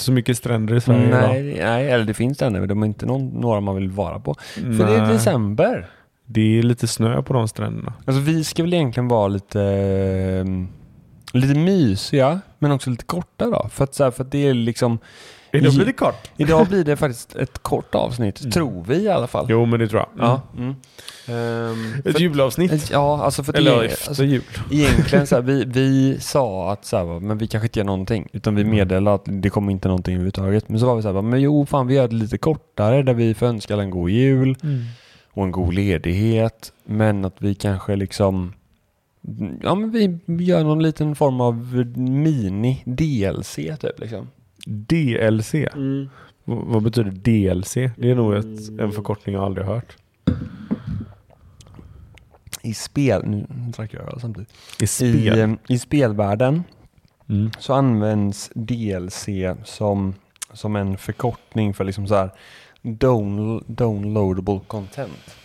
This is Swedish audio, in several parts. så mycket stränder i Sverige idag. nej, nej, eller det finns det ännu, men de är inte någon, några man vill vara på. För det är Nej. december. Det är lite snö på de stränderna. Alltså vi ska väl egentligen vara lite, ehm, lite mysiga, men också lite korta då. För att, så här, för att det är liksom, Är det lite kort? idag blir det faktiskt ett kort avsnitt, Mm. tror vi i alla fall. Jo, men det tror jag. Mm. Ja, mm. Ehm, Ett för- julavsnitt. Ja, alltså för att Eller det, efter alltså, jul. egentligen så här, vi, vi sa att så här, men vi kanske inte gör någonting. Utan vi Mm. meddelade att det kommer inte någonting överhuvudtaget. Men så var vi så här, men jo fan vi gör det lite kortare där vi får önska alla en god jul och en god ledighet. Men att vi kanske liksom Ja men vi gör någon liten form av mini DLC typ liksom. DLC. V- vad betyder DLC? Det är nog ett, en förkortning jag aldrig hört. I spel, nu drack jag öl samtidigt. I I, spel. eh, I spelvärlden Mm. så används DLC som, som en förkortning för liksom så här down, downloadable content.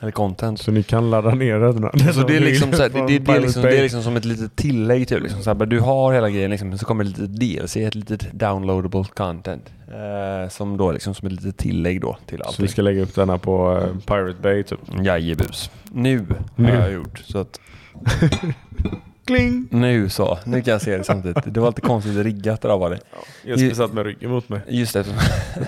Eller content. Så ni kan ladda ner den. Så det är liksom, så här, det, det, det, är Pirate liksom, Bay. det är liksom som ett litet tillägg typ. Liksom, så här, men du har hela grejen liksom, men så kommer det lite DLC, ett litet downloadable content. Eh, som då liksom som ett litet tillägg då till Så vi allting. ska lägga upp denna på eh, Pirate Bay typ. Jajebus. Nu, Nu. har jag gjort. Så att Kling! nu så, nu kan jag se det samtidigt. Det var lite konstigt riggat det där var det. Jesper satt med ryggen mot mig. Just eftersom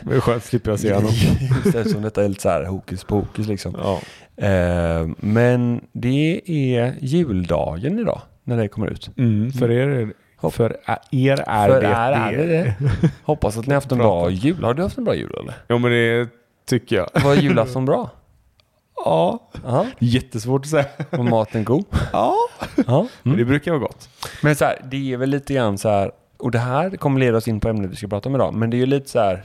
Det är skönt, slipper jag se honom. Just eftersom detta är lite så här hokus pokus liksom. Ja. Eh, men det är juldagen idag när det kommer ut. Mm, för er är det. Hopp. För ä- er är För det är, är det det. Hoppas att ni har haft en bra jul. Har du haft en bra jul eller? Ja men det tycker jag. Var julafton bra? Ja. Aha. Jättesvårt att säga. Var maten god? Ja. Ja. Men Mm. det brukar vara gott. Men så här, det är väl lite grann så här, och det här kommer leda oss in på ämnet vi ska prata om idag, men det är ju lite så här,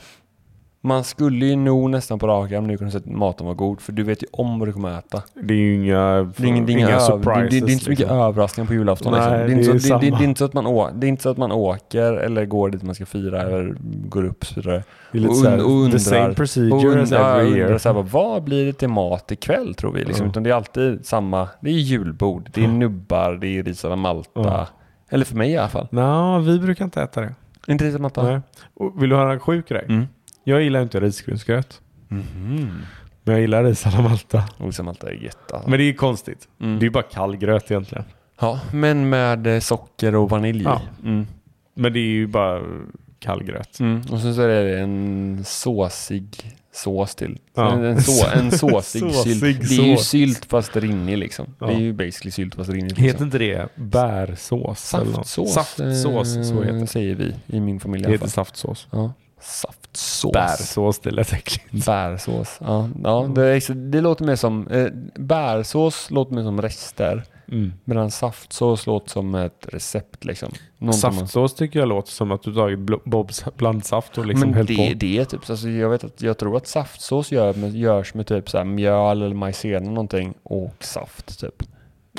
man skulle ju nog nästan på rak arm nu kunna säga att maten var god, för du vet ju om vad du kommer att äta. Det är ju inga, liksom. Det är, ingen, det, är inga över, det, det, det är inte så mycket överraskningar på julafton. Nej, liksom. det, är inte det så, är det, det, samma. det är inte så att man å, det är inte så att man åker eller går dit man ska fira eller går upp och så vidare. Det är lite och så här, und- och undrar- the same Och procedure as undrar, every undrar year. så här, bara, vad blir det till mat ikväll tror vi? Liksom, Ja. Utan det är alltid samma, det är julbord, det är Mm. nubbar, det är ris alla Malta. Ja. Eller för mig i alla fall. Nej, vi brukar inte äta det. Inte ris alla Malta? Nej. Och vill du höra en sjuk grej? Mm. Jag gillar inte risgrynsgröt. Mhm. Men jag gillar ris alla Malta. Och Ris alla Malta är gött alltså. Men det är konstigt. Mm. Det är ju bara kall gröt egentligen. Ja, men med eh, socker och vanilj i. Ja. mm. Men det är ju bara kall gröt. Mm. Och sen så är det en såsig sås till. Ja. En, en, så, en såsig, Såsig sylt. Det är ju sås. sylt fast rinnig liksom. Ja. Det är ju basically sylt fast rinnig. Heter Liksom. inte det bärsås? eller något? Saftsås, eh, Saftsås, så heter det. säger vi i min familj i Det alla heter fall. saftsås. Ja. Saftsås. Bärsås, Mm. det lät äckligt. Bärsås. Ja, ja det, är- det låter mer som... Eh, bärsås låter mer som rester. Medan saftsås låter som ett recept liksom. Någonting man- Saftsås tycker jag låter som att du tagit bl- Bobs blandsaft och liksom men hällt det, på. det är typ, så. alltså jag vet att jag tror att saftsås gör, med, görs med typ så här mjöl eller majsena eller någonting och saft typ.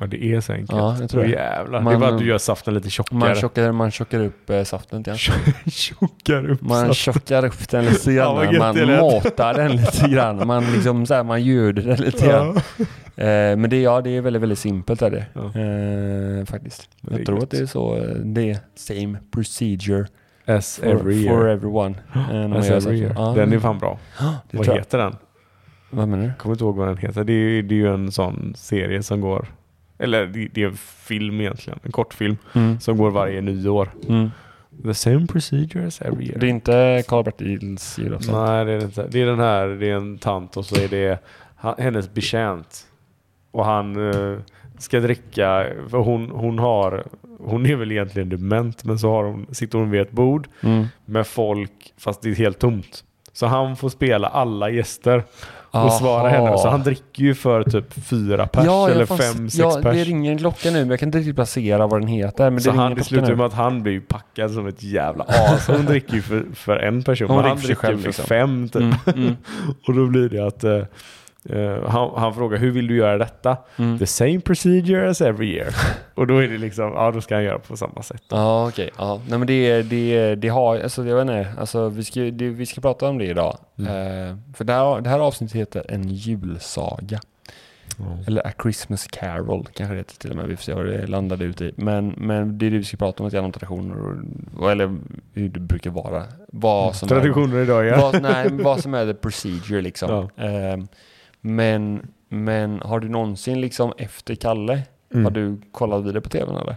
Ja, det är så enkelt. Ja, jag tror Åh, det. jävlar. det är Man- bara att du gör saften lite Man tjockare. tjockar, man tjockar upp eh, saften lite grann. Tjockar upp Man saft. tjockar upp den lite Ja, grann. vad gött det man lät. matar den lite grann. Man liksom så här, man ljuder den lite grann. Ja. Eh, men det, ja, det är väldigt, väldigt simpelt är det. Ja. Eh, faktiskt. Men det är Jag tror gött. att det är så. eh, Det är same procedure As for, every for year. everyone. eh, när man As gör så. every year. Ja, Den är fan bra. det Vad tror jag. heter den? Vad menar du? kommer inte ihåg vad den heter. Det är, ju- det är ju en sån serie som går... Eller det, det är en film egentligen. En kortfilm Mm. som går varje nyår. Mm. The same procedure as every year. Det är inte Karl-Bertils julafton? Nej, det är det inte. Det är den här. Det är en tant och så är det han, hennes betjänt. Och han eh, ska dricka. För hon, hon har... Hon är väl egentligen dement, men så har hon, sitter hon vid ett bord Mm. med folk, fast det är helt tomt. Så han får spela alla gäster. och svara henne. Så han dricker ju för typ fyra pers ja, jag eller fan- fem, sex ja, Det pers. ringer en klocka nu, men jag kan inte riktigt placera vad den heter. Men så det han, ringer det en slutar klocka med att han blir ju packad som ett jävla as. Hon dricker ju för, för en person, Hon men han dricker för sig dricker själv, för liksom. fem typ. nu. Mm, mm, Och då blir det att eh, eh, han, han frågar hur vill du göra detta? mm. The same procedure as every year. Och då är det liksom, ja då ska han göra på samma sätt. Ja, okej. Ja. Nej, men det, det, det har, alltså jag vet inte, alltså vi ska, det, vi Mm. ska prata om det idag. Eh, för det här, det här avsnittet heter En julsaga. Eller A Christmas Carol kanske det heter till och med. Vi får se vad det landade ut i. Men, men det är det vi ska prata om, lite grann om traditioner och, och, eller hur det brukar vara. Vad som Traditioner idag är, Mm. ja. vad, nej, men vad som är the procedure liksom. Ehm, men, men har du någonsin liksom efter Kalle, Mm. har du kollat vidare på tvn eller?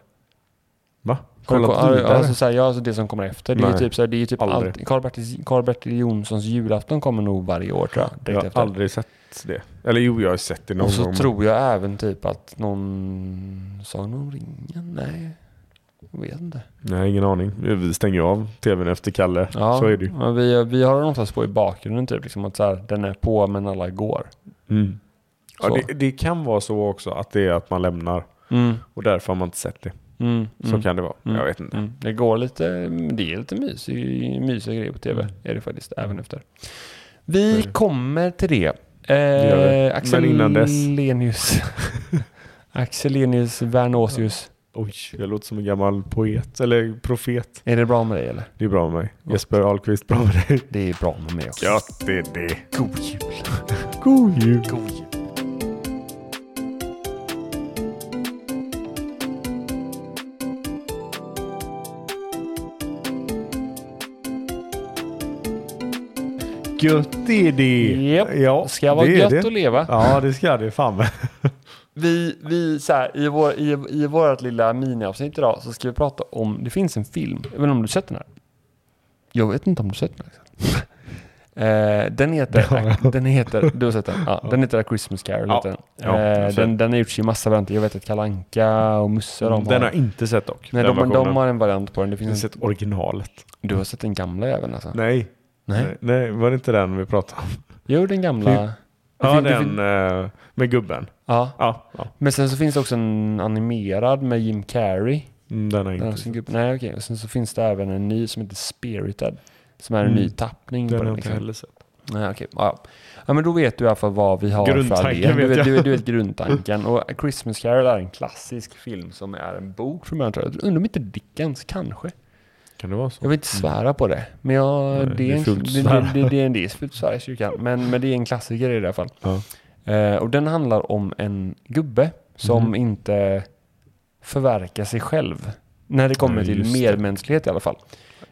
Va? Kolla, Kollat kolla, vidare? alltså, så här, ja, alltså det som kommer efter. Det är ju Nej. typ, så här, det är ju typ Aldrig. allt- Karl-Bertil Karl-Bertil Jonssons julafton kommer nog varje år tror jag. jag direkt har efter. aldrig sett det. Eller jo, jag har sett det någon Och så gång. tror jag även typ att någon... Sa någon om ringen? Nej. Jag vet inte. Nej, ingen aning. Vi stänger av tvn efter Kalle. Så är det ju. men vi, vi har den oftast på i bakgrunden typ. Liksom att så här, den är på men alla går. Mm. Ja, Så. det, det kan vara så också att det är att man lämnar Mm, och därför har man inte sett det. mm, Så mm, kan det vara. mm, Jag vet inte. Mm. Det går lite, det är lite mysig, mysiga grejer på tv. Är det faktiskt, även efter. Vi Mm. kommer till det. gör vi. Eh, Axel Men innan dess- Lenius. Axel Lenius Vernåsius. Oj, jag låter som en gammal poet eller profet. Är det bra med dig eller? Det är bra med mig. Jesper Ahlqvist, bra med dig. Det är bra med mig också. Gött det är det. God jul. God jul. God jul. Gött det är det. Japp. Ja, Ska vara det är gött det. att leva. Ja, det ska det fan med. Vi, vi så här, i, vår, i, i vårt lilla miniavsnitt idag så ska vi prata om, det finns en film, jag vet inte om du sett den här? Jag vet inte om du sett den här. liksom. Eh, den heter, den heter, du har sett den? Ja, den heter A Christmas Carol. Ja. heter den. Ja, jag har eh, sett den, den har gjorts i massa varianter. Jag vet att Kalle Anka och Musse de har. Mm, Den har jag inte sett dock. nej, den de, men de versionen. har en variant på den. Det Jag har finns en, sett originalet. du har sett den gamla även alltså? Nej. Nej. Nej, var det inte den vi pratade om? Jo, den gamla. Ja, fin- det den fin- eh, med gubben. Ja. Ja, ja. Men sen så finns det också en animerad med Jim Carrey. Mm, den har Den jag har inte sett. sin grupp. Nej, okej. Och sen så finns det även en ny som heter Spirited. Som är en Mm. ny tappning Den har på den. jag inte Liksom. heller sett. Nej, okej. Ja, ja. ja, men då vet du i alla fall vad vi har för Grundtanken idé. Du vet vet, jag. du, vet- du vet grundtanken. Och A Christmas Carol är en klassisk film som är en bok från början. tror jag. Jag Undrar om inte Dickens, kanske. Kan det vara så? Jag vill inte svära på det. Men jag, Nej, det, är en, det är fult att det, svära. det, det, det är en det är fult att svära i kyrkan. Men, men det är en klassiker i alla fall. Ja. Eh, och den handlar om en gubbe som Mhm. inte förverkar sig själv. När det kommer Nej, till just det. medmänsklighet i alla fall.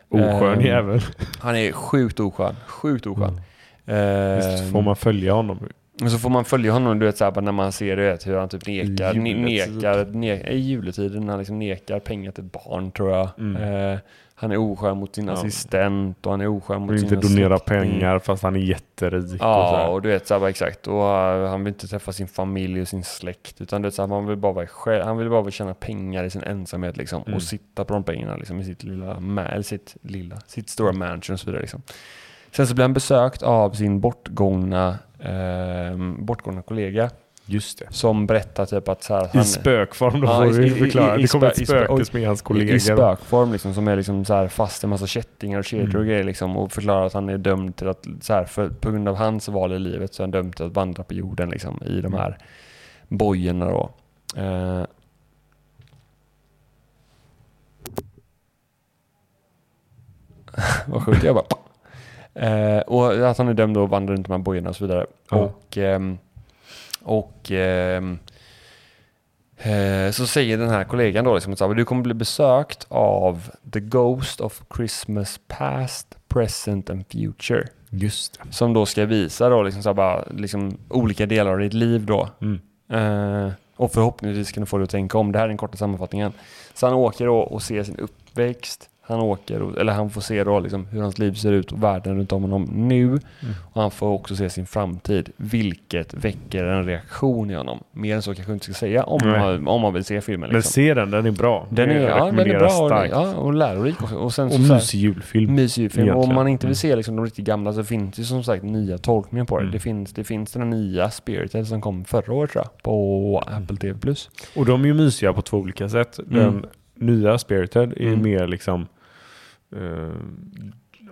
Oskön Ehm, jävel. Han är sjukt oskön. Sjukt oskön. Visst Eh, Mm. får man följa honom? och så får man följa honom, du vet, så här, bara när man ser du vet, hur han typ nekar, I ne- juletid. nekar, ne- i juletiden, när han liksom nekar pengar till ett barn tror jag. Mm. Eh, han är oskön mot sin Ja. assistent och han är oskön mot Vill inte sina donera släktingar. pengar fast han är jätterik. och så Ja, här. och du vet såhär, exakt. Och eh, han vill inte träffa sin familj och sin släkt. Utan du vet, såhär, man vill bara vara själv. Han vill bara vara tjäna pengar i sin ensamhet liksom. Mm. Och sitta på de pengarna liksom, i sitt lilla, ma- eller sitt lilla, sitt stora mansion och så vidare liksom. Sen så blir han besökt av sin bortgångna, eh, bortgångna kollega. Just det. Som berättar typ att såhär, I spökform då Ja, får i- vi i- i- förklara. i Det kommer ett spö- i spö- spöke oj. som är hans I, i kollega. spökform liksom, som är liksom så här fast en massa kättingar och kedjor Mm. och grejer liksom, och förklarar att han är dömd till att, så här, för, på grund av hans val i livet så är han dömd till att vandra på jorden liksom, i Mm. de här bojorna då. Eh, Vad sjukt, jag bara... Eh, och att han är dömd då att vandra runt de här bojorna och så vidare. Ja. Och, ehm, och ehm, eh, så säger den här kollegan då liksom att så här, du kommer bli besökt av the ghost of Christmas past, present and future. Just det. Som då ska visa då liksom så här, bara, liksom olika delar av ditt liv då. Mm. Eh, och förhoppningsvis kan du få dig att tänka om. Det här är den korta sammanfattningen. Så han åker då och ser sin uppväxt. Han åker, och, eller han får se då liksom hur hans liv ser ut och världen runt om honom nu. Mm. Och han får också se sin framtid, vilket väcker en reaktion i honom. Mer än så kanske jag inte ska säga om, Nej. man, om man vill se filmen. Men Liksom. se den, den är bra. Den är, Jag ja, den är rekommenderar bra och, starkt. ja, och lärorik. också. och sen så Och så här- mysig julfilm. Mysig film. Och om Egentligen. man inte vill se liksom, de riktigt gamla så finns det ju som sagt nya tolkningar på det. Mm. Det, finns, det finns den nya Spirited som kom förra året tror jag, på Apple TV+. Och de är ju mysiga på två olika sätt. Den Mm. nya Spirited är Mm. mer liksom... eh,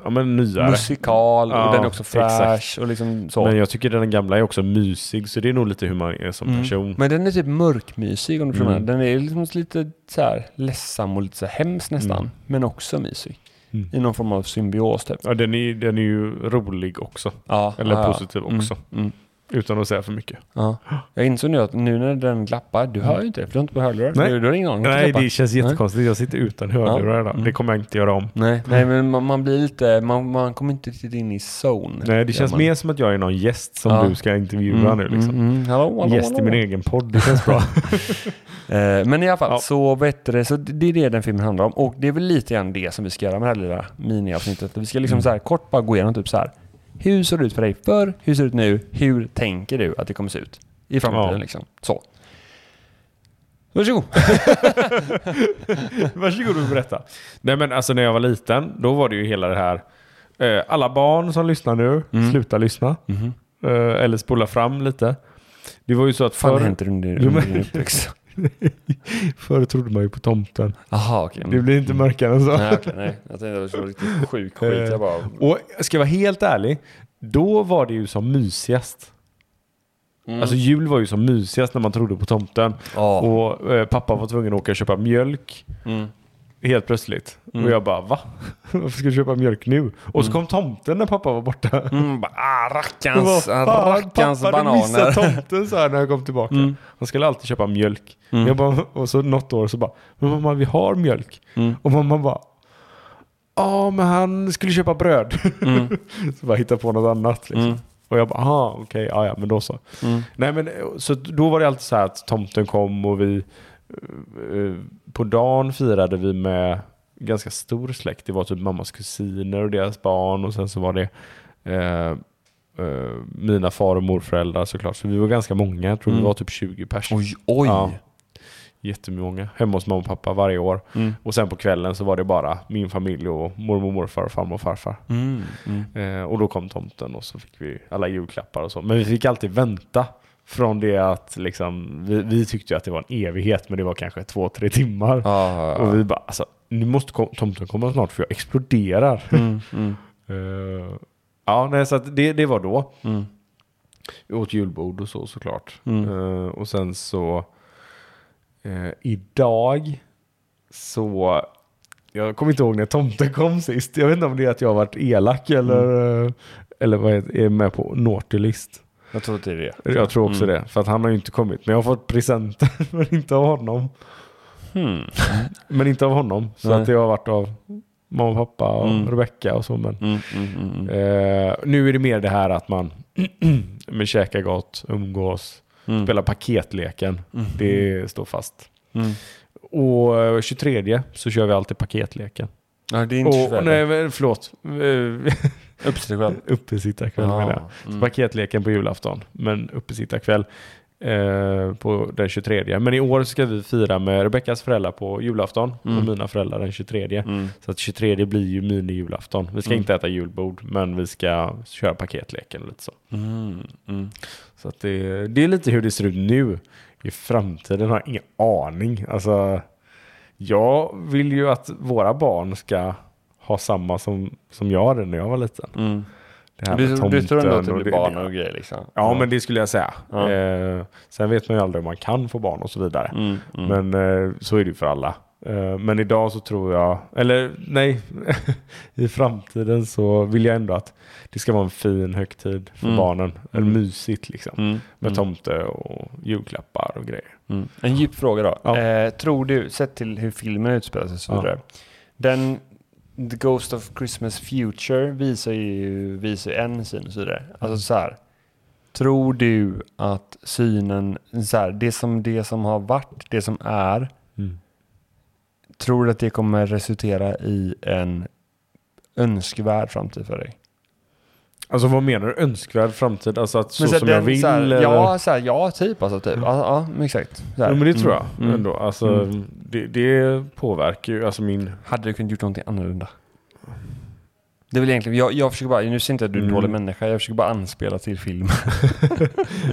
ja men nyare. Musikal Ja, och den är också exakt. fräsch och liksom så. Men jag tycker den gamla är också mysig så det är nog lite hur man är som Mm. person. Men den är typ mörkmysig om du förstår Mm. mm. Den är liksom lite så här ledsam och lite så här hemsk nästan. Mm. Men också mysig. Mm. I någon form av symbios typ. Ja, den, är, den är ju rolig också. Ja, Eller ja, ja. positiv också. Mm, mm. Utan att säga för mycket. Ja. Jag insåg nu att nu när den glappar, du hör ju inte det för du har inte på hörlurar. Nej. Du, du har ingen aning om att Nej, glappar. det känns jättekonstigt. Jag sitter utan hörlurar idag. Mm. Det kommer jag inte göra om. Nej, nej Mm. men man, man blir lite, man, man kommer inte riktigt in i zone. Nej, det Ja, känns man- mer som att jag är någon gäst som Ja. du ska intervjua nu. Liksom. Mm, mm, hallå, hallå, Gäst i hallå. min egen podd, det känns bra. Eh, men i alla fall, Ja. så, vet du, det, så det det är det den filmen handlar om. Och det är väl lite grann det som vi ska göra med det här lilla miniavsnittet. Vi ska Mm. liksom så här, kort bara gå igenom typ så här. Hur såg det ut för dig förr? Hur ser det ut nu? Hur tänker du att det kommer se ut i framtiden? Ja. Liksom. Så. Varsågod. Varsågod och berätta. Nej men alltså när jag var liten, då var det ju hela det här. Eh, alla barn som lyssnar nu, Mm. sluta lyssna. Mhm. Eh, eller spola fram lite. Det var ju så att fan förr, hände under, Jo, men- under din uppväxt? förr trodde man ju på tomten. Jaha, okej. Det blir inte mörkare än så. Eh. Nej, okej, nej. Jag tänkte att det skulle vara riktigt sjuk skit. Jag bara... Och ska jag vara helt ärlig, då var det ju som mysigast. Mm. Alltså jul var ju som mysigast när man trodde på tomten. Ja. Och eh, pappa var tvungen att åka och köpa mjölk Mm. helt plötsligt. Mm. Och jag bara va? Varför ska du köpa mjölk nu? Och så kom tomten när pappa var borta. Mm, bara, ah, Och bara, rackarns, "Fan, rackarns pappa, du missade bananer. tomten så här när jag kom tillbaka. Mm. Han skulle alltid köpa mjölk. Mm. Jag bara, och så något år så bara, men mamma vi har mjölk. Mm. Och mamma bara, ja men han skulle köpa bröd. Mm. så bara hitta på något annat. Liksom. Mm. Och jag bara, aha okej, ja, ja men då så. Mm. Nej men eh, så att då var det alltid så här att tomten kom och vi, eh, eh, på dagen firade vi med ganska stor släkt. Det var typ mammas kusiner och deras barn och sen så var det eh, eh, mina far och morföräldrar såklart. Så vi var ganska många, jag tror Mm. vi var typ 20 personer. Oj, oj. Ja. Jättemånga. Hemma hos mamma och pappa varje år. Mm. Och sen på kvällen så var det bara min familj och mormor och morfar och farmor och farfar. Mm. Mm. Eh, och då kom tomten och så fick vi alla julklappar och så. Men vi fick alltid vänta. Från det att liksom, vi, vi tyckte ju att det var en evighet men det var kanske två, tre timmar. Ja, Och vi bara alltså, nu måste kom, tomten komma snart för jag exploderar. Mm. Mm. Eh, ja, nej, så att det, det var då. Mm. Jag åt julbord och så såklart. Mm. Eh, och sen så eh, idag så jag kommer inte ihåg när tomten kom sist. Jag vet inte om det är att jag har varit elak eller, Mm. eh, eller vad heter- är med på naughty list. Jag tror att det är det. Mm. Jag tror också det, för att han har ju inte kommit. Men jag har fått presenter, men inte av honom. Hmm. Men inte av honom. Så Nej. att det har varit av mamma och pappa och Mm. Rebecca och så. Men Mm. Mm. Mm. Mm. Eh, nu är det mer det här att man men käkar gott, umgås, Mm. spelar paketleken. Mm. Det står fast. Mm. Och eh, 23 så kör vi alltid paketleken. Ja, det är inte Och, och förvärrat. nej, men förlåt. Eh, Upp till dig själv. Uppesittarkväll menar jag. Ja. Så Mm. Paketleken på julafton, men uppesittarkväll eh, på den 23. Men i år ska vi fira med Rebeckas föräldrar på julafton och Mm. mina föräldrar den 23. Mm. Så att 23 blir ju mini-julafton. Vi ska Mm. inte äta julbord, men vi ska köra paketleken och lite så. Mm. Mm. Så att det, det är lite hur det ser ut nu. I framtiden har jag ingen aning. Alltså, jag vill ju att våra barn ska ha samma som, som jag hade när jag var liten. Mm. Det här med Du, du tror ändå att det tomten och blir barn och grejer liksom? Ja, men det skulle jag säga. Ja. Eh, sen vet man ju aldrig om man kan få barn och så vidare. Mm. Mm. Men eh, så är det ju för alla. Eh, men idag så tror jag, eller nej, i framtiden så vill jag ändå att det ska vara en fin högtid för Mm. barnen. Eller Mm. mysigt liksom. Mm. Med Mm. tomte och julklappar och grejer. Mm. En djup fråga då. Ja. Eh, tror du, sett till hur filmen utspelar sig och så Ja. vidare. Den The Ghost of Christmas Future visar ju, visar ju en syn och så vidare. Mm. Alltså så här. Tror du att synen, så här, det, som, det som har varit, det som är, tror du att det kommer resultera i en önskvärd framtid för dig? Alltså vad menar du? Önskvärd framtid? Alltså att så, Men här, som den- jag vill? Så här, eller? ja, så här, ja, typ alltså. Typ. Alltså, ja, men exakt. Så här. Jo, men det tror Mm. jag Mm. ändå. Alltså, det, det påverkar ju alltså min... Hade du kunnat gjort någonting annorlunda? Det är väl egentligen, jag, jag försöker bara, nu ser inte jag att du är en Mm. dålig människa, jag försöker bara anspela till film.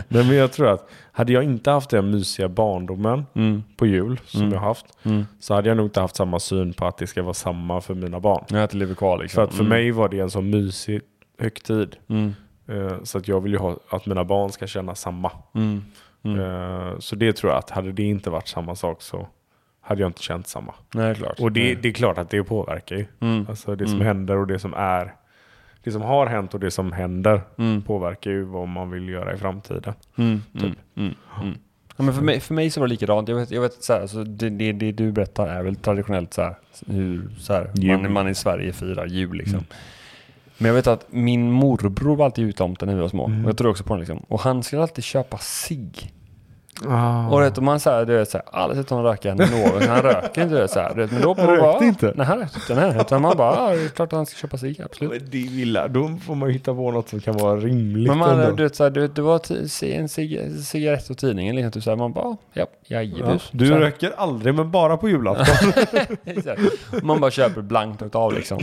Nej, men jag tror att hade jag inte haft den mysiga barndomen Mm. på jul som Mm. jag haft Mm. så hade jag nog inte haft samma syn på att det ska vara samma för mina barn. Jag äter lever kvar liksom. För att för Mm. mig var det en sån mysig högtid. Mm. Eh, Så att jag vill ju ha, att mina barn ska känna samma. Mm. Mm. Eh, Så det tror jag att hade det inte varit samma sak så hade jag inte känt samma. Nej, det är klart. Och det, Nej. det är klart att det påverkar ju. Mm. Alltså det som Mm. händer och det som är det som har hänt och det som händer Mm. påverkar ju vad man vill göra i framtiden. Mm, Typ. mm, mm, mm. Ja, men för, mig, för mig så var det likadant. Jag vet, jag vet så här, alltså, det, det, det du berättar är väl traditionellt så här, hur så här, Jul. man, man i Sverige firar jul. Liksom. Mm. Men jag vet att min morbror var alltid jultomte när vi var små. Mm. Och jag tror också på den. Liksom. Och han skulle alltid köpa cigg. Och du vet, om man säger du vet så här, aldrig sett honom röka någon, han röker inte du vet så här. Du vet, men då på Han rökte bara, inte? Nej, han rökte inte. Nej, utan man bara, ja, det är klart att han ska köpa cigg, absolut. Men det är illa. Då får man ju hitta på något som kan vara rimligt. Men man, ändå. du vet, så här, du vet, det var ti- se- en cig- cigarett och tidningen liksom, typ så här, man bara, ja, ja. jajebus. Du Så här. röker aldrig, men bara på julafton. Så här. Man bara köper blankt och av liksom.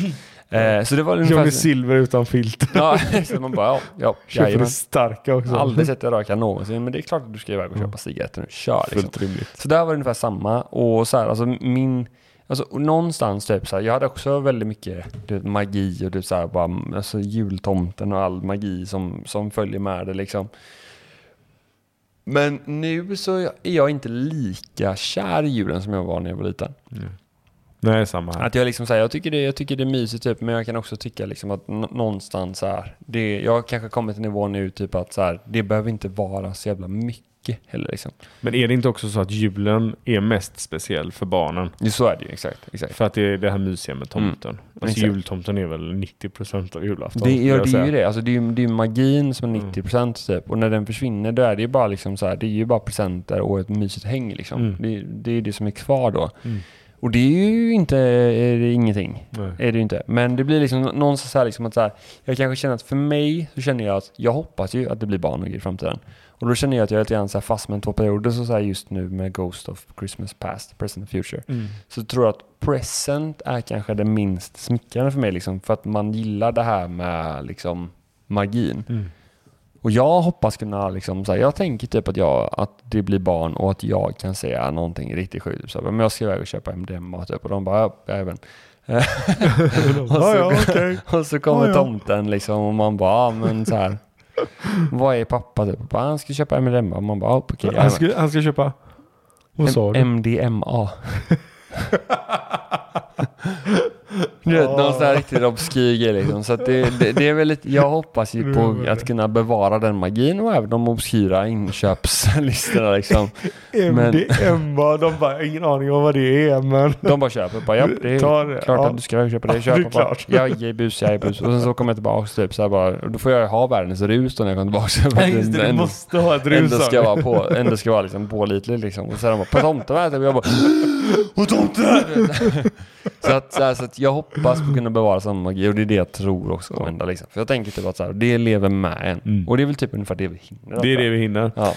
Eh, så det var ungefär... Johnny Silver utan filter. Ja, så man bara, ja, ja, Köper det jajamän. starka också. Aldrig sett dig röka någonsin, men det är klart att du ska iväg och köpa cigaretter nu. Kör liksom. Fullt rimligt. Så där var det ungefär samma. Och så här, alltså min... Alltså och någonstans typ så här, jag hade också väldigt mycket du vet, magi och typ så här, bara, alltså jultomten och all magi som, som följer med det liksom. Men nu så är jag inte lika kär i julen som jag var när jag var liten. Nej, samma här. Att jag liksom säger, jag tycker det, jag tycker det är mysigt typ, men jag kan också tycka liksom att nå- någonstans så här, det, jag har kanske kommit till nivån nu typ att så här, det behöver inte vara så jävla mycket heller liksom. Men är det inte också så att julen är mest speciell för barnen? Jo, så är det ju, exakt, exakt. Mm. För att det är det här mysiga med tomten. Alltså Exakt. jultomten är väl 90% av julafton. Det, skulle ja, jag det är säga. ju det, alltså det är ju, det är ju magin som är 90% typ, och när den försvinner då är det ju bara liksom så här, det är ju bara presenter och ett mysigt häng liksom. Mm. Det, det är ju det som är kvar då. Mm. Och det är ju inte, är det ingenting. Nej. är det ju inte. Men det blir liksom någonstans så här liksom att så här, jag kanske känner att för mig så känner jag att jag hoppas ju att det blir barn och grejer i framtiden. Och då känner jag att jag är lite grann så här fast med två perioder så, så här just nu med Ghost of Christmas Past, Present and Future. Mm. Så tror jag att present är kanske det minst smickrande för mig liksom för att man gillar det här med liksom magin. Mm. Och jag hoppas kunna liksom så här, jag tänker typ att jag, att det blir barn och att jag kan säga någonting riktigt sjukt. Typ så här, men jag ska iväg och köpa MDMA typ och de bara, ja, jag även. ja, ja, Alltså, okej. Och så kommer Ja, ja. tomten liksom och man bara, ah, men så här. Vad är pappa typ? Bara, han ska köpa MDMA. Och man bara, ah, okej. Han, ska, han ska köpa... Vad sa du? MDMA. Du vet, någon sån här riktigt obskyr grej liksom. Så att det, det, det är väl lite, jag hoppas ju på att kunna bevara den magin och även de obskyra inköpslistorna liksom. men- MDMA. De bara, ingen aning om vad det är, men... De bara köper, bara japp, det är Ta det, klart ja. att du ska iväg och köpa Ja, det, det är köpa bara. klart. Ja, ge bus, jag bus. Och sen så kommer jag tillbaka typ så här bara, då får jag ha världens rus då när jag kommer tillbaka. Nej, just det. Du Men- måste ha ett ändå rus. ska jag vara på, ändå ska jag vara liksom pålitlig liksom. Och sen de bara, på tomten var jag typ, jag bara, på tomten! så, att, så, här, så att jag hoppas på att kunna bevara samma magi och det är det jag tror också kommer hända liksom. För jag tänker typ att så här, det lever med en. Mm. Och det är väl typ ungefär det vi hinner. Det är det vi hinner. Ja.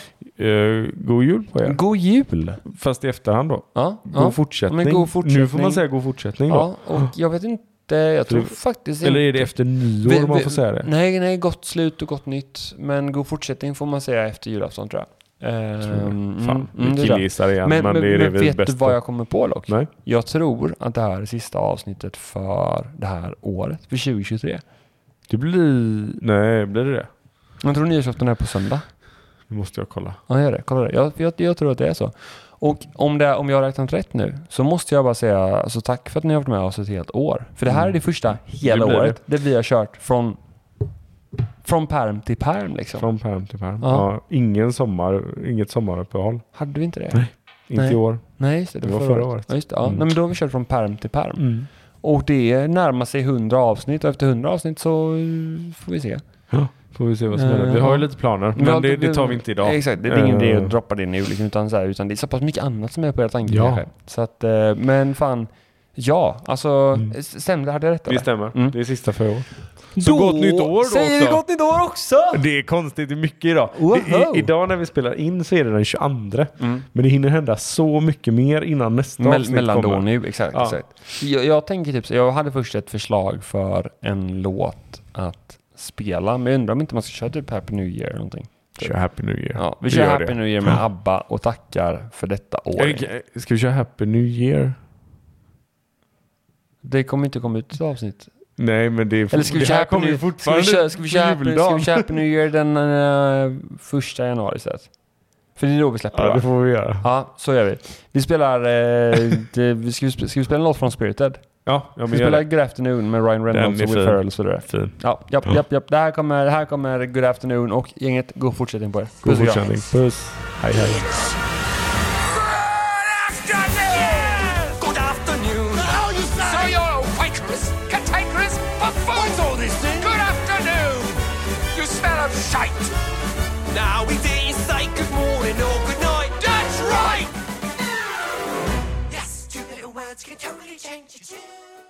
Eh, god jul på er. God jul! Fast i efterhand då. Ja, God, ja. fortsättning. Men god fortsättning. Nu får man säga god fortsättning då. ja, och jag vet inte, jag tror faktiskt Eller är det efter nyår Vi- man vi- får säga det? Nej, nej, gott slut och gott nytt. Men god fortsättning får man säga efter julafton tror jag. Ehm, Fan, mm, vi mm, det är det. killgissar igen. Men, Men, men, det är det men vi är vet du bäst vad på. jag kommer på dock? Nej. Jag tror att det här är sista avsnittet för det här året, för 2023. Det blir... Nej, blir det det? Jag tror nyårsafton är på söndag. Nu måste jag kolla. Ja, gör det. Kolla det. Jag, jag, jag tror att det är så. Och om, det, om jag har räknat rätt nu så måste jag bara säga alltså, tack för att ni har varit med oss ett helt år. För det här är Mm. det första hela Det blir året där vi har kört från, från perm till perm liksom. Från pärm till pärm. Ja. Ja. ingen sommar, inget sommaruppehåll. Hade vi inte det? Nej. Inte Nej. i år. Nej, just det. Det var förra, året. Ja, just det. Ja. Mm. Nej, men då har vi kört från perm till perm. Och det närmar sig 100 avsnitt och efter 100 avsnitt så eh, får vi se. Får vi se vad som händer. Eh, Vi ja. har ju lite planer, men Ja, det, det tar vi inte idag. Exakt, det är ingen Eh. idé att droppa det nu liksom, utan, så här, utan det är så pass mycket annat som är på era tankar Ja. kanske. Så att, eh, men fan, ja, alltså Mm. mm. stämde, hade jag rätt Det eller? stämmer. Mm. Det är sista för i år. Så gott nytt år då Säger vi också. gott nytt år också! Det är konstigt, det är mycket idag. Wow. Det är, idag när vi spelar in så är det den 22. Mm. Men det hinner hända så mycket mer innan nästa Mell- avsnitt mellan då kommer. och nu, exakt. Ja. exakt. Jag, jag tänker typ så, jag hade först ett förslag för en låt att spela, men jag undrar om inte man ska köra typ Happy New Year eller någonting. Kör Happy New Year. Ja, vi kör gör Happy det. New Year med ABBA och tackar för detta år. Eh, Ska vi köra Happy New Year? Det kommer inte komma ut ett avsnitt. Nej, men det, är, Eller ska vi det köra här Happy kommer ju New- ska vi fortfarande köra- ska vi på köra Happy- ska juldagen. vi köra Happy New Year den eh, första januari så att? För det är då vi släpper Ja, det det va? får vi göra. Ja, så gör vi. Vi spelar... Eh, det, vi- ska, vi, sp- ska vi spela en låt från Spirited? Ja, ja Vi men gör spelar det. Good Afternoon med Ryan Reynolds Den är och Will fin. Ferrell och så vidare. Fin. Ja, japp, japp, japp. Det här kommer, det här kommer Good Afternoon och gänget, god fortsättning på er. God Puss och kram. fortsättning. Puss. Hej, hej. Good afternoon. How you say? So you're a white crisp, catay crisp, buffoon. What's all this eh? thing? Good afternoon. You smell of shite. Now we didn't say good morning or good night. That's right. Yes, two little words can totally change your tune.